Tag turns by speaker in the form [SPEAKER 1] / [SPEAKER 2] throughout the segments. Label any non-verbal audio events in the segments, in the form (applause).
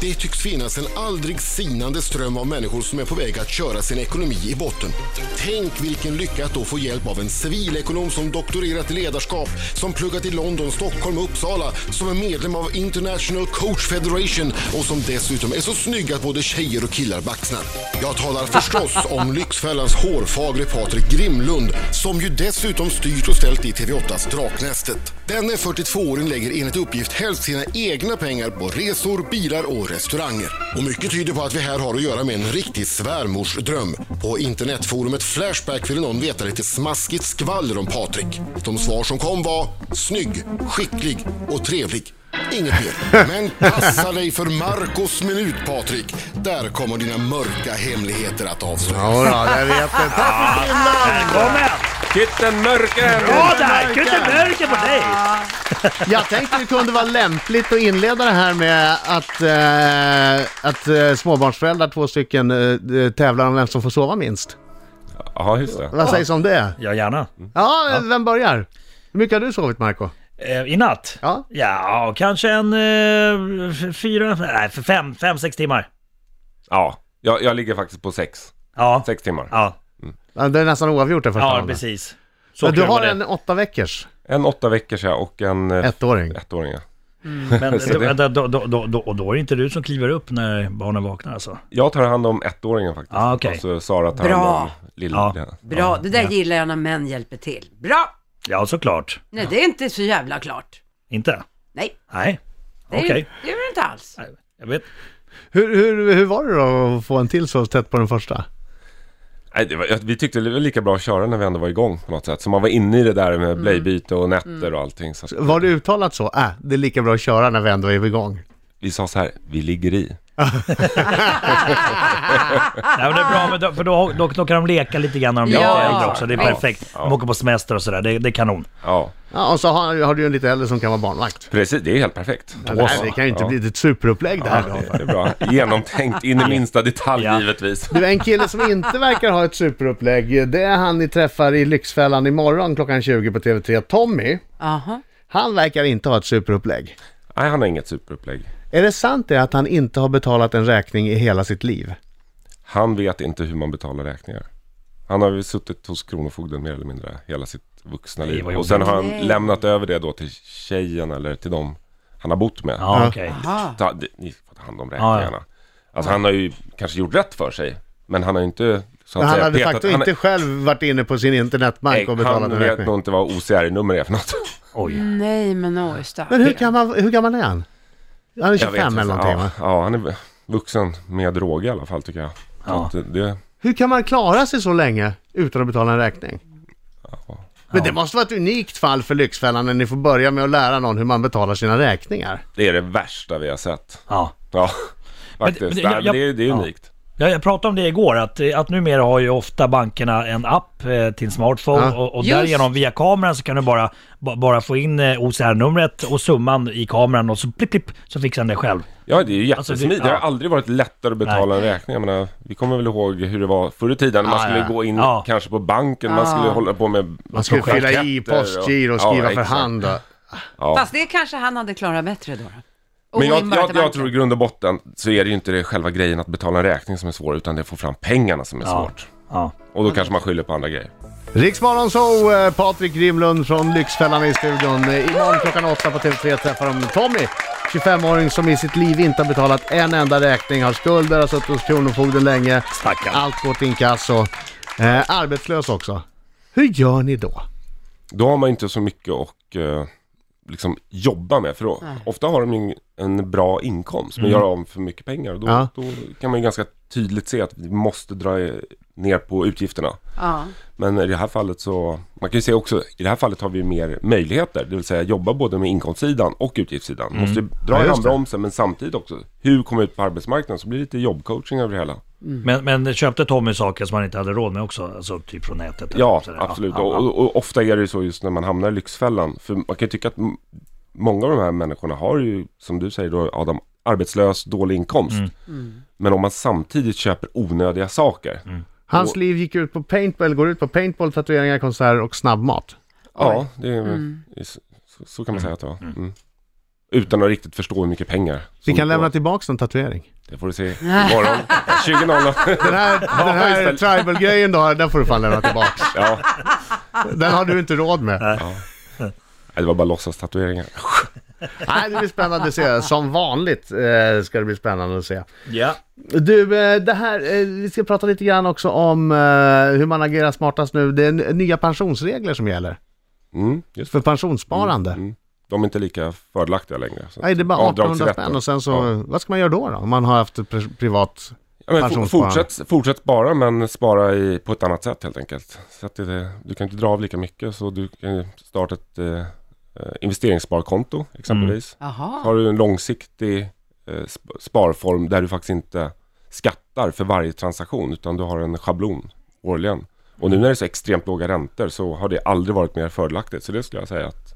[SPEAKER 1] Det tycks finnas en aldrig sinande ström av människor som är på väg att köra sin ekonomi i botten. Tänk vilken lycka att då få hjälp av en civilekonom som doktorerat i ledarskap, som pluggat i London, Stockholm och Uppsala, som är medlem av International Coach Federation och som dessutom är så snygg att både tjejer och killar baxnar. Jag talar förstås om Lyxfällans hårfagre Patrik Grimlund, som ju dessutom styrt och ställt i TV8s Draknästet. Denne 42-åring lägger enligt uppgift helst sina egna pengar på resor, bilar och restauranger. Och mycket tyder på att vi här har att göra med en riktig svärmorsdröm. På internetforumet Flashback ville någon veta lite smaskigt skvaller om Patrik. De svar som kom var snygg, skicklig och trevlig. Inget mer. Men passa dig för Marcos minut, Patrik. Där kommer dina mörka hemligheter att avslöjas.
[SPEAKER 2] Jodå, jag vet det. Tack för Finland!
[SPEAKER 3] Välkommen!
[SPEAKER 4] Kitten Mörken!
[SPEAKER 3] Bra där! Kutte mörker på dig!
[SPEAKER 2] (laughs) Jag tänkte det kunde vara lämpligt att inleda det här med att, eh, att eh, småbarnsföräldrar, två stycken, eh, tävlar om vem som får sova minst.
[SPEAKER 4] Ja, just det.
[SPEAKER 2] Vad sägs om det?
[SPEAKER 3] Ja, gärna.
[SPEAKER 2] Ja, eh, vem börjar? Hur mycket har du sovit, Marco?
[SPEAKER 3] Eh, I natt?
[SPEAKER 2] Ja.
[SPEAKER 3] Ja, kanske en eh, f- fyra, nej, för fem, fem, sex timmar.
[SPEAKER 4] Ja, jag, jag ligger faktiskt på sex.
[SPEAKER 3] Ja.
[SPEAKER 4] Sex timmar.
[SPEAKER 3] Ja,
[SPEAKER 2] Ja, Det är nästan oavgjort det första
[SPEAKER 3] ja
[SPEAKER 2] rundan.
[SPEAKER 3] precis. Så
[SPEAKER 2] Men du
[SPEAKER 3] kul var
[SPEAKER 2] har
[SPEAKER 3] det. (laughs)
[SPEAKER 2] en åtta veckors
[SPEAKER 4] En åtta veckors ja, och en eh,
[SPEAKER 2] ettåring.
[SPEAKER 4] ettåring. ja.
[SPEAKER 3] Men
[SPEAKER 4] Så det-
[SPEAKER 3] då, då, då, då, då, och då är det inte du som kliver upp när barnen vaknar alltså?
[SPEAKER 4] Jag tar hand om ettåringen faktiskt.
[SPEAKER 3] Ah, okej.
[SPEAKER 4] Och så Sara tar
[SPEAKER 5] Bra.
[SPEAKER 4] hand om lilla.
[SPEAKER 3] Ja.
[SPEAKER 5] Bra, det där gillar jag när män hjälper till. Bra!
[SPEAKER 3] Ja, såklart.
[SPEAKER 5] Nej, det är inte så jävla klart.
[SPEAKER 3] Inte?
[SPEAKER 5] Nej,
[SPEAKER 3] Nej.
[SPEAKER 5] det är,
[SPEAKER 3] Okej.
[SPEAKER 5] det, är det inte alls.
[SPEAKER 3] Nej, Jag vet.
[SPEAKER 2] Hur, hur, hur var det då att få en till så tätt på den första?
[SPEAKER 4] Nej, det var, vi tyckte det var lika bra att köra när vi ändå var igång på något sätt. Så man var inne i det där
[SPEAKER 2] Mm.
[SPEAKER 4] med blöjbyte och nätter och allting. Så att
[SPEAKER 2] Var det uttalat så? Äh, det är lika bra att köra när vi ändå är igång.
[SPEAKER 4] vi sa så här, vi ligger i.
[SPEAKER 3] Nej, men det är bra, men då, för då, då, då kan de leka lite grann när de blir
[SPEAKER 5] Ah, Ja,
[SPEAKER 3] lite äldre
[SPEAKER 5] exakt.
[SPEAKER 3] också. Det är
[SPEAKER 4] Ja.
[SPEAKER 3] perfekt.
[SPEAKER 4] Ja.
[SPEAKER 3] De åker på semester och sådär. Det, det är kanon.
[SPEAKER 4] Ja,
[SPEAKER 2] Ja, och så har, har du ju en lite äldre som kan vara barnvakt.
[SPEAKER 4] precis. Det är helt perfekt.
[SPEAKER 2] Men det, här, det kan ju inte
[SPEAKER 4] Ja.
[SPEAKER 2] bli ett superupplägg det här.
[SPEAKER 4] Ja, det, det är bra.
[SPEAKER 2] (laughs)
[SPEAKER 4] Genomtänkt in i minsta detalj
[SPEAKER 3] Ja.
[SPEAKER 4] givetvis.
[SPEAKER 2] Du, en kille som inte verkar ha ett superupplägg, det är han ni träffar i Lyxfällan imorgon klockan 20 på TV3. Tommy,
[SPEAKER 5] Jaha.
[SPEAKER 2] han verkar inte ha ett superupplägg.
[SPEAKER 4] Nej, han har inget superupplägg.
[SPEAKER 2] Är det sant det att han inte har betalat en räkning i hela sitt liv?
[SPEAKER 4] Alltså, Han vet inte hur man betalar räkningar. Han har ju suttit hos Kronofogden mer eller mindre hela sitt vuxna
[SPEAKER 3] Nej,
[SPEAKER 4] liv.
[SPEAKER 3] vad
[SPEAKER 4] Och sen har han
[SPEAKER 5] Nej.
[SPEAKER 4] lämnat över det då till tjejen eller till dem han har bott med.
[SPEAKER 3] Ja, okej.
[SPEAKER 5] Aha.
[SPEAKER 4] Ta, det- ni får ta hand om räkningarna. Alltså han har ju kanske gjort rätt för sig. Men han har ju inte så att
[SPEAKER 2] Men han
[SPEAKER 4] säga
[SPEAKER 2] hade faktiskt
[SPEAKER 4] han-
[SPEAKER 2] inte själv varit inne på sin internetbank och
[SPEAKER 4] Nej,
[SPEAKER 2] betalat
[SPEAKER 4] han
[SPEAKER 2] en
[SPEAKER 4] vet
[SPEAKER 2] räkning.
[SPEAKER 4] nog inte vad OCR-nummer är
[SPEAKER 2] (laughs)
[SPEAKER 4] för något.
[SPEAKER 3] Oj.
[SPEAKER 5] Nej, men oj, stackare.
[SPEAKER 2] Men hur, kan man, hur gammal är han? Han är
[SPEAKER 4] Jag vet
[SPEAKER 2] 25
[SPEAKER 4] inte.
[SPEAKER 2] eller någonting
[SPEAKER 4] ja,
[SPEAKER 2] va?
[SPEAKER 4] ja, han är vuxen med droger i alla fall tycker jag. Så
[SPEAKER 3] Ja.
[SPEAKER 4] att Det,
[SPEAKER 2] Hur kan man klara sig så länge utan att betala en räkning? Men det måste vara ett unikt fall för Lyxfällan när ni får börja med att lära någon hur man betalar sina räkningar.
[SPEAKER 4] det är det värsta vi har sett.
[SPEAKER 3] Ja.
[SPEAKER 4] Ja, faktiskt.
[SPEAKER 3] men det-
[SPEAKER 4] Nej,
[SPEAKER 3] jag-
[SPEAKER 4] men det, är- det är
[SPEAKER 3] ja.
[SPEAKER 4] unikt.
[SPEAKER 3] Ja, jag pratade om det igår, att, eh, att numera har ju ofta bankerna en app eh, till smartphone
[SPEAKER 2] Ja.
[SPEAKER 3] och, och
[SPEAKER 5] Just.
[SPEAKER 3] därigenom via kameran så kan du bara, ba, bara få in eh, OCR-numret och summan i kameran och så plipp, plipp, så fixar den det själv.
[SPEAKER 4] Ja, det är ju
[SPEAKER 3] Alltså, det-
[SPEAKER 4] jättesmidigt. det, har
[SPEAKER 3] ja.
[SPEAKER 4] aldrig varit lättare att betala en räkning. Jag menar, vi kommer väl ihåg hur det var förr i tiden. Man
[SPEAKER 2] Ja,
[SPEAKER 4] skulle
[SPEAKER 2] ja.
[SPEAKER 4] gå in
[SPEAKER 3] Ja.
[SPEAKER 4] kanske på banken, man skulle hålla på med
[SPEAKER 2] Man skulle fylla i
[SPEAKER 4] blanketter
[SPEAKER 2] postgiro och
[SPEAKER 4] ja,
[SPEAKER 2] skriva för
[SPEAKER 4] exakt.
[SPEAKER 2] hand. och-
[SPEAKER 4] Ja.
[SPEAKER 5] Fast det kanske han hade klarat bättre då. då. Och
[SPEAKER 4] Men
[SPEAKER 5] gå
[SPEAKER 4] jag,
[SPEAKER 5] in bara
[SPEAKER 4] jag,
[SPEAKER 5] till
[SPEAKER 4] jag
[SPEAKER 5] banken.
[SPEAKER 4] tror i grund och botten så är det ju inte det själva grejen att betala en räkning som är svår, utan det är att få fram pengarna som är svårt.
[SPEAKER 3] Ja.
[SPEAKER 4] Och då kanske man skyller på andra grejer.
[SPEAKER 2] Riksmorgon så eh, Patrik Grimlund från Lyxfällan i studion. Eh, Imorgon klockan åtta på TV3 träffar de Tommy, 25-åring som i sitt liv inte har betalat en enda räkning, har skulder, har suttit hos Kronofogden länge.
[SPEAKER 3] Stackarn.
[SPEAKER 2] Allt går till inkasso. Eh, arbetslös också. Hur gör ni då?
[SPEAKER 4] Då har man ju inte så mycket att eh, liksom jobba med. För då, ofta har de ju en bra inkomst, men gör av med för mycket pengar. Och då,
[SPEAKER 2] Mm. Ja.
[SPEAKER 4] då kan man ju ganska tydligt se att vi måste dra eh, ner på utgifterna.
[SPEAKER 5] Ja.
[SPEAKER 4] Men i det här fallet så, man kan ju säga också, i det här fallet har vi mer möjligheter, det vill säga jobba både med inkomstsidan och utgiftssidan. Måste
[SPEAKER 2] Mm. Ja,
[SPEAKER 4] dra i
[SPEAKER 2] just det.
[SPEAKER 4] handbromsen men samtidigt också, hur kommer ut på arbetsmarknaden? Så blir det lite jobbcoaching över det hela.
[SPEAKER 3] Men, men köpte Tommy saker som han inte hade råd med också, alltså typ från nätet? eller
[SPEAKER 4] Ja,
[SPEAKER 3] sådär.
[SPEAKER 4] absolut.
[SPEAKER 3] Ja, ja, ja.
[SPEAKER 4] Och, och ofta är det ju så just när man hamnar i Lyxfällan, för man kan ju tycka att m- många av de här människorna har ju, som du säger då Adam, arbetslös, dålig inkomst.
[SPEAKER 3] Mm.
[SPEAKER 2] Mm.
[SPEAKER 4] Men om man samtidigt köper onödiga saker,
[SPEAKER 3] Mm.
[SPEAKER 2] Hans liv gick ut på paintball, går ut på paintball, tatueringar, konserter och snabbmat.
[SPEAKER 4] ja, det är, så, så kan man säga att det var. Mm. Utan att riktigt förstå hur mycket pengar.
[SPEAKER 2] Vi
[SPEAKER 4] som
[SPEAKER 2] kan
[SPEAKER 4] går.
[SPEAKER 2] lämna tillbaka en tatuering.
[SPEAKER 4] Det får
[SPEAKER 2] (laughs)
[SPEAKER 4] du se imorgon. 20.00.
[SPEAKER 2] Den här, den här
[SPEAKER 4] istället.
[SPEAKER 2] tribal-grejen du har, den får du fan lämna tillbaka.
[SPEAKER 4] (laughs) Ja.
[SPEAKER 2] Den har du inte råd med.
[SPEAKER 4] Nej, det var bara låtsas-tatueringar.
[SPEAKER 2] Nej, det blir spännande att se. Som vanligt eh, ska det bli spännande att se.
[SPEAKER 3] Ja.
[SPEAKER 2] Du, eh, det här, eh, vi ska prata lite grann också om eh, hur man agerar smartast nu. Det är n- nya pensionsregler som gäller
[SPEAKER 4] Mm, just det.
[SPEAKER 2] för pensionssparande.
[SPEAKER 4] Mm. De är inte lika fördelaktiga längre. Så
[SPEAKER 2] Nej, det är bara
[SPEAKER 4] avdragsrätten.
[SPEAKER 2] 1800 spänn och sen så,
[SPEAKER 4] Ja.
[SPEAKER 2] vad ska man göra då, då om man har haft ett pri- privat...
[SPEAKER 4] Ja, men for-
[SPEAKER 2] pensionssparande.
[SPEAKER 4] fortsätt, fortsätt spara, men spara i, på ett annat sätt helt enkelt. Så att det, du kan inte dra av lika mycket, så du kan ju starta ett eh, eh, investeringssparkonto exempelvis.
[SPEAKER 5] Mm.
[SPEAKER 4] Så
[SPEAKER 5] Jaha.
[SPEAKER 4] har du en långsiktig eh, sp- sparform där du faktiskt inte skattar för varje transaktion utan du har en schablon årligen. Och nu när det är så extremt låga räntor så har det aldrig varit mer fördelaktigt. Så det skulle jag säga att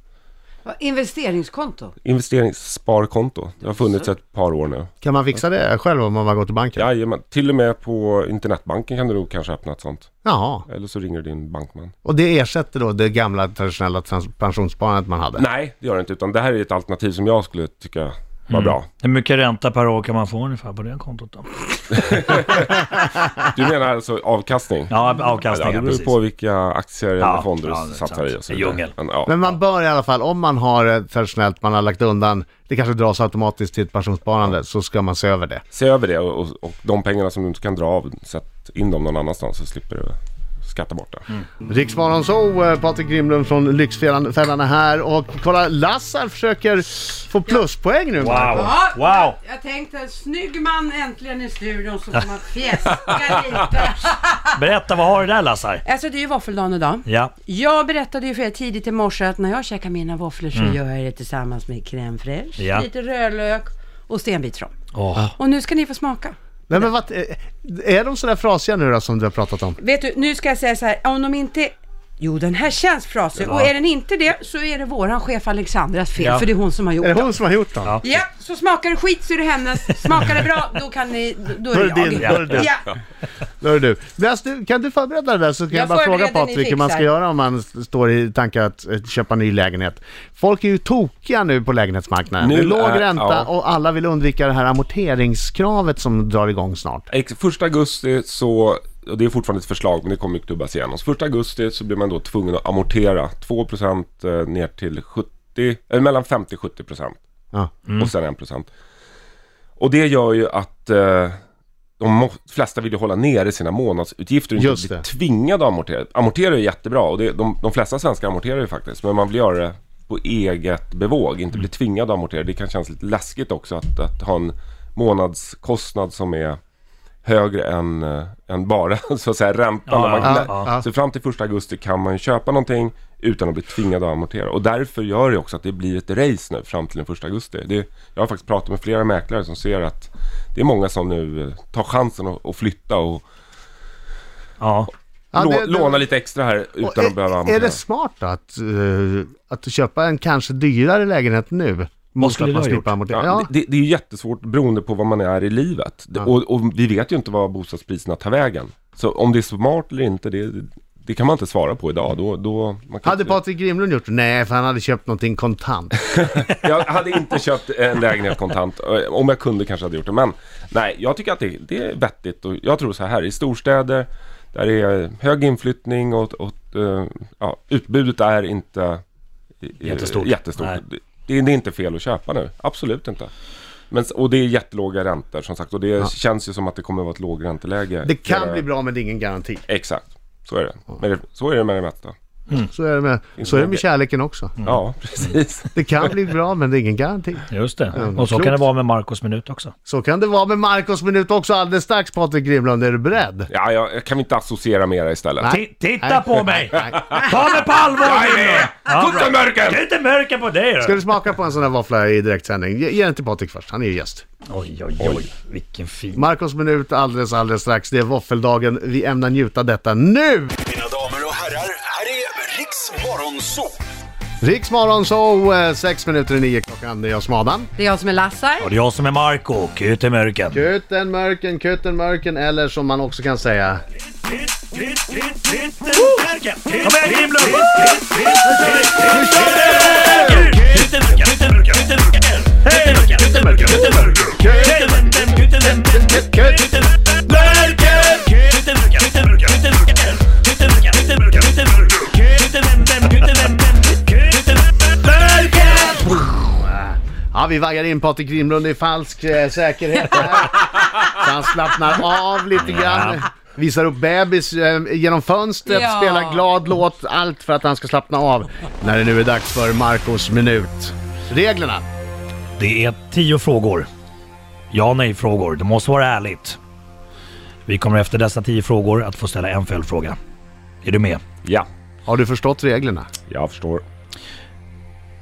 [SPEAKER 5] Investeringskonto.
[SPEAKER 4] investeringssparkonto, det har funnits ett par år nu.
[SPEAKER 2] Kan man fixa det själv om man bara går till banken?
[SPEAKER 4] Jajamän, till och med på internetbanken kan du nog kanske öppna ett sånt.
[SPEAKER 2] Jaha,
[SPEAKER 4] Eller så ringer du din bankman.
[SPEAKER 2] och det ersätter då det gamla traditionella trans- pensionssparandet man hade?
[SPEAKER 4] Nej, det gör det inte. Utan det här är ett alternativ som jag skulle tycka var bra.
[SPEAKER 3] Hur mycket ränta per år kan man få ungefär på det kontot då?
[SPEAKER 4] Du menar alltså avkastning?
[SPEAKER 3] Ja,
[SPEAKER 4] Ja, det
[SPEAKER 3] avkastningen
[SPEAKER 4] beror
[SPEAKER 3] precis.
[SPEAKER 4] på vilka aktier eller
[SPEAKER 3] Ja,
[SPEAKER 4] fonder du
[SPEAKER 3] ja, det är
[SPEAKER 4] satsar
[SPEAKER 3] sant.
[SPEAKER 4] i och så
[SPEAKER 3] En
[SPEAKER 4] vidare.
[SPEAKER 3] djungel.
[SPEAKER 4] Men, ja.
[SPEAKER 2] Men man bör i alla fall, om man har eh, traditionellt, man har lagt undan, det kanske dras automatiskt till ett pensionssparande, så ska man se över det.
[SPEAKER 4] se över det och, och, och de pengarna som du inte kan dra av, sätt in dem någon annanstans så slipper du skatta bort det.
[SPEAKER 3] Mm.
[SPEAKER 2] Riksmorgon så, eh, Patrik Grimlund från Lyxfällan är här och kolla Lassar försöker få pluspoäng nu. Mark.
[SPEAKER 3] Wow,
[SPEAKER 5] Ja,
[SPEAKER 3] wow!
[SPEAKER 5] Jag, jag tänkte, snygg man äntligen i studion så får man fjäska lite.
[SPEAKER 3] Berätta, vad har du där Lassar?
[SPEAKER 5] Alltså det är ju våffeldagen idag.
[SPEAKER 3] Ja,
[SPEAKER 5] Jag berättade ju för er tidigt i morse att när jag käkar mina våfflor så gör jag det tillsammans med crème fraîche,
[SPEAKER 3] Ja.
[SPEAKER 5] lite rödlök och stenbitrom.
[SPEAKER 3] Åh.
[SPEAKER 5] Och nu ska ni få smaka.
[SPEAKER 2] Nej, men vad, eh, är de sådär frasiga nu då som du har pratat om?
[SPEAKER 5] Vet du, nu ska jag säga så här, om de inte... Jo, den här känns frasig. Och är den inte det så är det våran chef Alexandras fel,
[SPEAKER 3] Ja.
[SPEAKER 5] för det är hon som har gjort
[SPEAKER 2] Är det
[SPEAKER 5] dem.
[SPEAKER 2] hon som har gjort dem?
[SPEAKER 3] Ja.
[SPEAKER 5] Ja, så smakar det skit så är det hennes. Smakar det bra, då kan ni... Då
[SPEAKER 2] Då
[SPEAKER 5] är
[SPEAKER 2] är det
[SPEAKER 5] det
[SPEAKER 2] din,
[SPEAKER 5] jag.
[SPEAKER 2] då är det din.
[SPEAKER 5] Ja.
[SPEAKER 2] Då är det du. Lass, du. Kan du förbereda det där så kan jag,
[SPEAKER 5] Jag
[SPEAKER 2] bara fråga
[SPEAKER 5] förbereder, ni
[SPEAKER 2] Patrik hur man ska
[SPEAKER 5] fixar.
[SPEAKER 2] göra om man s- står i tankar att eh, köpa ny lägenhet. Folk är ju tokiga nu på lägenhetsmarknaden.
[SPEAKER 4] Nu
[SPEAKER 2] det är låg
[SPEAKER 4] är-
[SPEAKER 2] ränta
[SPEAKER 4] ja.
[SPEAKER 2] och alla vill undvika det här amorteringskravet som drar igång snart.
[SPEAKER 4] Ex- Första augusti så, och det är fortfarande ett förslag men det kommer ju klubbas igenom. Så första augusti så blir man då tvungen att amortera 2% eh, ner till 70, eller mellan 50 och 70%.
[SPEAKER 2] Ja.
[SPEAKER 4] Och sen 1%. Och det gör ju att eh, de må- flesta vill ju hålla nere sina månadsutgifter och
[SPEAKER 2] Just
[SPEAKER 4] inte bli
[SPEAKER 2] det.
[SPEAKER 4] tvingade att amortera. Amortera är jättebra och det, de, de flesta svenskar amorterar ju faktiskt. Men man vill göra det på eget bevåg, inte bli
[SPEAKER 2] Mm.
[SPEAKER 4] tvingad att amortera. Det kan kännas lite läskigt också att, att ha en månadskostnad som är högre än, eh, än bara (laughs) så att säga räntan.
[SPEAKER 3] Ja,
[SPEAKER 4] när man,
[SPEAKER 3] ja, ja.
[SPEAKER 4] Så fram till första augusti kan man ju köpa någonting utan att bli tvingad att amortera. Och därför gör det också att det blir ett race nu fram till den första augusti. Det, jag har faktiskt pratat med flera mäklare som ser att det är många som nu eh, tar chansen att, att flytta och
[SPEAKER 3] ja.
[SPEAKER 2] Ja,
[SPEAKER 4] lå,
[SPEAKER 2] det- det-
[SPEAKER 4] låna lite extra här
[SPEAKER 2] Och
[SPEAKER 4] utan
[SPEAKER 2] är,
[SPEAKER 4] att behöva
[SPEAKER 2] Är
[SPEAKER 4] amortera.
[SPEAKER 2] det smart då att, eh, att köpa en kanske dyrare lägenhet nu? Måste
[SPEAKER 3] skulle
[SPEAKER 2] att man
[SPEAKER 3] du ha gjort?
[SPEAKER 2] slipper amortera.
[SPEAKER 4] Ja,
[SPEAKER 2] Ja,
[SPEAKER 4] det, det är ju jättesvårt beroende på vad man är i livet. Det- Och, och vi vet ju inte vad bostadspriserna tar vägen. Så om det är smart eller inte, det, det kan man inte svara på idag. Då, då, man kan
[SPEAKER 2] hade
[SPEAKER 4] inte,
[SPEAKER 2] Patrik Grimlund gjort det? Nej, för han hade köpt någonting kontant.
[SPEAKER 4] jag hade inte köpt en lägenhet kontant. Eh, Om jag kunde kanske hade jag gjort det. Men nej, jag tycker att det, det är vettigt. Och jag tror så här, i storstäder där det är hög inflyttning och, och eh, ja, utbudet är inte eh,
[SPEAKER 3] Jättestort.
[SPEAKER 4] jättestort.
[SPEAKER 3] Nej.
[SPEAKER 4] Det, det är inte fel att köpa nu. Absolut inte. Men, s- och det är jättelåga räntor som sagt. Och det känns ju som att det kommer att vara ett lågränteläge.
[SPEAKER 2] Det kan
[SPEAKER 4] hela-
[SPEAKER 2] bli bra men det är ingen garanti.
[SPEAKER 4] Exakt. Så är det. Men det, så är det med det mesta.
[SPEAKER 2] Mm. Så är det med, så är det med kärleken också.
[SPEAKER 4] Ja, precis.
[SPEAKER 2] Det kan bli bra men det är ingen garanti.
[SPEAKER 3] Just det.
[SPEAKER 2] vad
[SPEAKER 3] Och så
[SPEAKER 2] klokt.
[SPEAKER 3] kan det vara med Marcos minut också.
[SPEAKER 2] Så kan det vara med Marcos minut också alldeles strax Patrik Grimlund. Är du beredd?
[SPEAKER 4] Ja, jag, jag kan vi inte associera mera istället?
[SPEAKER 2] Nej.
[SPEAKER 3] Ti- titta
[SPEAKER 2] Nej.
[SPEAKER 3] på mig!
[SPEAKER 2] Nej.
[SPEAKER 3] Ta mig på allvar
[SPEAKER 4] Jag är
[SPEAKER 3] nu!
[SPEAKER 4] med!
[SPEAKER 3] Ja,
[SPEAKER 4] Putta
[SPEAKER 3] bra.
[SPEAKER 4] mörker!
[SPEAKER 3] Det är inte mörker på dig
[SPEAKER 2] Ska
[SPEAKER 3] du.
[SPEAKER 2] du smaka på en sån här våffla i direktsändning? Ge, ge den till Patrik först, han är ju gäst.
[SPEAKER 3] Oj, oj, oj. Vilken fin.
[SPEAKER 2] Marcos minut alldeles, alldeles strax. Det är våffeldagen. Vi ämnar njuta detta nu!
[SPEAKER 6] Mina damer och herrar, här är Riks Morgonzoo!
[SPEAKER 2] Riksmorgon så, eh, sex minuter i nio klockan. Det är jag som är Adam.
[SPEAKER 5] Det är jag som är Lassar.
[SPEAKER 3] Och det är jag som är Marco. Kut i mörken.
[SPEAKER 2] Kuten mörken, kuten mörken eller som man också kan säga.
[SPEAKER 3] Kom igen Grimlund!
[SPEAKER 2] Ja, vi vaggar in Patrik Grimlund i falsk eh, säkerhet här. Så han slappnar av lite grann. Visar upp bebis eh, genom fönstret,
[SPEAKER 5] Ja.
[SPEAKER 2] spelar glad låt, allt för att han ska slappna av. När det nu är dags för Marcos minut. Reglerna.
[SPEAKER 3] Det är tio frågor. Ja nej-frågor. Det måste vara ärligt. Vi kommer efter dessa tio frågor att få ställa en följdfråga. Är du med?
[SPEAKER 4] Ja,
[SPEAKER 2] Har du förstått reglerna?
[SPEAKER 4] jag förstår.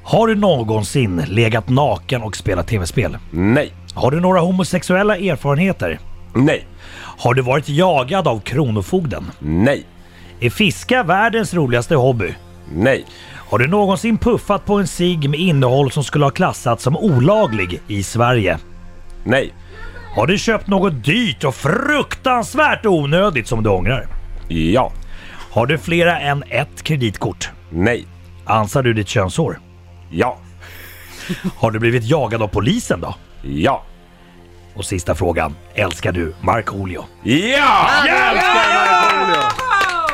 [SPEAKER 3] Har du någonsin legat naken och spelat tv-spel?
[SPEAKER 4] Nej,
[SPEAKER 3] Har du några homosexuella erfarenheter?
[SPEAKER 4] nej,
[SPEAKER 3] Har du varit jagad av Kronofogden?
[SPEAKER 4] nej,
[SPEAKER 3] Är fiska världens roligaste hobby?
[SPEAKER 4] nej,
[SPEAKER 3] Har du någonsin puffat på en cigg med innehåll som skulle ha klassats som olaglig i Sverige?
[SPEAKER 4] nej.
[SPEAKER 3] Har du köpt något dyrt och fruktansvärt onödigt som du ångrar?
[SPEAKER 4] Ja,
[SPEAKER 3] Har du flera än ett kreditkort?
[SPEAKER 4] nej,
[SPEAKER 3] Ansar du ditt könsår?
[SPEAKER 4] ja,
[SPEAKER 3] Har du blivit jagad av polisen då?
[SPEAKER 4] ja,
[SPEAKER 3] Och sista frågan. Älskar du Markoolio?
[SPEAKER 4] ja!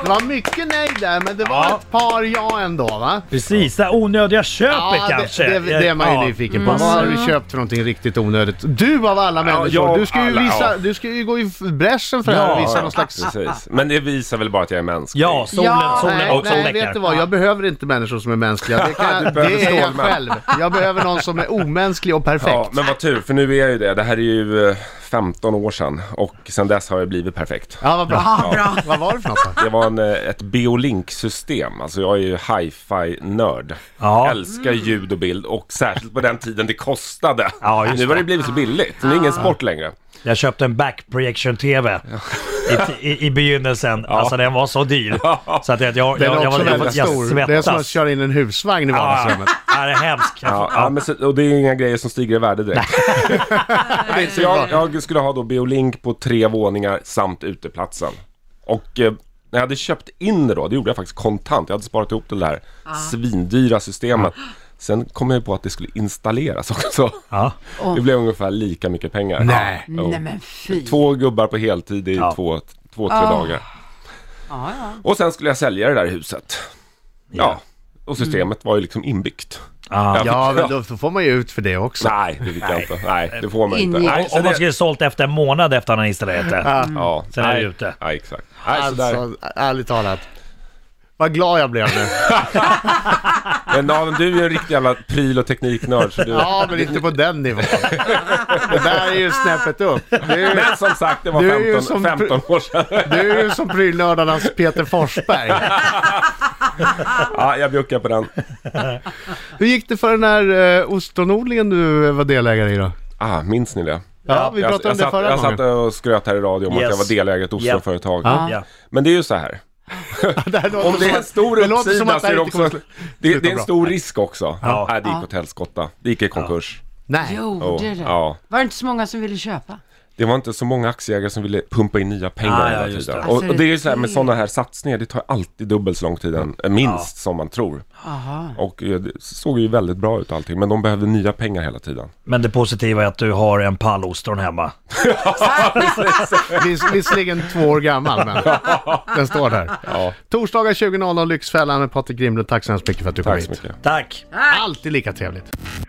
[SPEAKER 2] Det var mycket nej där, men det var
[SPEAKER 3] Ja.
[SPEAKER 2] ett par ja ändå va?
[SPEAKER 3] Precis, det här onödiga köpet kanske.
[SPEAKER 2] Det, det, det är man ju
[SPEAKER 3] Ja.
[SPEAKER 2] nyfiken på. Vad har du köpt för någonting riktigt onödigt? Du av alla människor,
[SPEAKER 4] jag
[SPEAKER 2] du, ska ju
[SPEAKER 4] av alla,
[SPEAKER 2] visa,
[SPEAKER 4] ja.
[SPEAKER 2] du ska ju gå i f- bräschen för det här och visa någon slags...
[SPEAKER 4] Precis. Men det visar väl bara att jag är mänsklig.
[SPEAKER 3] Ja, solen,
[SPEAKER 5] Ja.
[SPEAKER 3] solen,
[SPEAKER 2] Nej,
[SPEAKER 3] och solen
[SPEAKER 2] nej
[SPEAKER 3] läcker.
[SPEAKER 2] vet du vad? Jag behöver inte människor som är mänskliga. Det, kan,
[SPEAKER 4] Du behöver
[SPEAKER 2] det är jag
[SPEAKER 4] Stålman.
[SPEAKER 2] själv. Jag behöver någon som är omänsklig och perfekt.
[SPEAKER 4] Ja, men vad tur, för nu är jag ju det. Det här är ju eh, 15 år sedan och sedan dess har jag blivit perfekt.
[SPEAKER 2] Ja, vad bra.
[SPEAKER 5] Ja, bra.
[SPEAKER 2] Vad var det för något då?
[SPEAKER 4] Det var en, eh, ett Beolink-system. Alltså jag är ju hi-fi-nörd.
[SPEAKER 3] Ja.
[SPEAKER 4] Älskar ljud och bild och särskilt på den tiden det kostade.
[SPEAKER 3] Ja, just
[SPEAKER 4] nu har det
[SPEAKER 3] det.
[SPEAKER 4] blivit så billigt. Nu är det ingen sport längre.
[SPEAKER 3] Jag köpte en backprojection-TV i, i, i begynnelsen. Alltså den var så dyr. Så att jag, jag,
[SPEAKER 2] Den är
[SPEAKER 3] jag, jag,
[SPEAKER 2] också
[SPEAKER 3] var- jag,
[SPEAKER 2] väldigt
[SPEAKER 3] jag
[SPEAKER 2] stor.
[SPEAKER 3] svettas.
[SPEAKER 2] Det är som att köra in en husvagn i vardagsrummet.
[SPEAKER 3] Ja, det är hemskt. Jag
[SPEAKER 4] Ja,
[SPEAKER 3] får-
[SPEAKER 4] ja, men så, och det är inga grejer som stiger i värde direkt.
[SPEAKER 5] Nej,
[SPEAKER 4] så jag, jag skulle ha då Beolink på tre våningar samt uteplatsen. Och eh, när jag hade köpt in det då, det gjorde jag faktiskt kontant. Jag hade sparat ihop det där svindyra systemet. Sen kom jag ju på att det skulle installeras också.
[SPEAKER 3] Ja.
[SPEAKER 4] Det blev ungefär lika mycket pengar.
[SPEAKER 3] Nej.
[SPEAKER 4] Jo.
[SPEAKER 5] Nej men fy.
[SPEAKER 4] Två gubbar på heltid i
[SPEAKER 3] Ja.
[SPEAKER 4] två, två,
[SPEAKER 2] Ah.
[SPEAKER 4] tre dagar.
[SPEAKER 5] Ja, ja.
[SPEAKER 4] Och sen skulle jag sälja det där huset.
[SPEAKER 3] Ja. Ah.
[SPEAKER 4] Ja. Och systemet var ju liksom inbyggt.
[SPEAKER 3] Ja.
[SPEAKER 4] Jag
[SPEAKER 2] Ja,
[SPEAKER 4] fick-
[SPEAKER 2] men då får man ju ut för det också.
[SPEAKER 4] Nej, det fick jag inte. Nej, det får man inte.
[SPEAKER 5] Ingick.
[SPEAKER 4] Nej, så
[SPEAKER 3] Om man
[SPEAKER 4] det-
[SPEAKER 3] skulle sålt efter en månad efter han installerat det.
[SPEAKER 4] Ja.
[SPEAKER 3] Sen är
[SPEAKER 4] Nej.
[SPEAKER 3] det ute.
[SPEAKER 4] Ja, exakt. Nej, så där.
[SPEAKER 2] Alltså, ärligt talat. Vad glad jag blev nu.
[SPEAKER 4] Men Adam, du är ju en riktig jävla pryl och tekniknörd. Så du...
[SPEAKER 2] Ja, men inte på den nivån. Det där är ju snäppet upp. Du är,
[SPEAKER 4] Men som sagt, det var
[SPEAKER 2] Du är ju
[SPEAKER 4] 15,
[SPEAKER 2] som
[SPEAKER 4] 15 år sedan.
[SPEAKER 2] du är ju som prylnördarnas Peter Forsberg.
[SPEAKER 4] Ja, jag bjuckar på den.
[SPEAKER 2] Hur gick det för den här eh, ostronodlingen du eh, var delägare i då?
[SPEAKER 4] Ah, minns ni det?
[SPEAKER 2] Ja, vi
[SPEAKER 4] jag,
[SPEAKER 2] pratade om
[SPEAKER 4] jag
[SPEAKER 2] det
[SPEAKER 4] satt,
[SPEAKER 2] förra
[SPEAKER 4] Jag satt
[SPEAKER 2] gången.
[SPEAKER 4] och skröt här i radio om att
[SPEAKER 3] Yes.
[SPEAKER 4] jag var delägare i ett ostronföretag.
[SPEAKER 3] Ja.
[SPEAKER 4] Men det är ju så här.
[SPEAKER 2] Det här låter
[SPEAKER 4] Om det
[SPEAKER 2] som
[SPEAKER 4] är en
[SPEAKER 2] att-
[SPEAKER 4] stor
[SPEAKER 2] det låter som
[SPEAKER 4] uppsida
[SPEAKER 2] att
[SPEAKER 4] så är
[SPEAKER 2] här
[SPEAKER 4] det
[SPEAKER 2] inte kommer
[SPEAKER 4] också...
[SPEAKER 2] att slu-
[SPEAKER 4] Det,
[SPEAKER 2] sluta
[SPEAKER 4] det är en
[SPEAKER 2] bra.
[SPEAKER 4] stor risk också.
[SPEAKER 3] Ja.
[SPEAKER 4] Nej, Äh, det gick åt helskotta. Det gick i konkurs.
[SPEAKER 2] Nej.
[SPEAKER 5] Gjorde det?
[SPEAKER 4] ja.
[SPEAKER 5] Var det inte så många som ville köpa?
[SPEAKER 4] Det var inte så många aktieägare som ville pumpa in nya pengar
[SPEAKER 3] Ah, ja,
[SPEAKER 4] hela
[SPEAKER 3] just
[SPEAKER 4] tiden.
[SPEAKER 3] det.
[SPEAKER 4] Och,
[SPEAKER 5] Alltså,
[SPEAKER 4] och det är ju så här med
[SPEAKER 5] det-
[SPEAKER 4] sådana här satsningar, det tar alltid dubbelt så lång tid, än, eh, minst, som man tror.
[SPEAKER 5] Aha.
[SPEAKER 4] Och eh, det såg ju väldigt bra ut allting, men de behövde nya pengar hela tiden.
[SPEAKER 3] Men det positiva är att du har en pall ostron hemma.
[SPEAKER 2] Viss- Visserligen två år gammal, men den står där. Torsdagar 20.00 Lyxfällan med Patrik Grimlund. Tack så hemskt mycket för att du kom
[SPEAKER 4] Tack så
[SPEAKER 2] hit.
[SPEAKER 4] mycket.
[SPEAKER 3] Tack!
[SPEAKER 2] Alltid lika trevligt.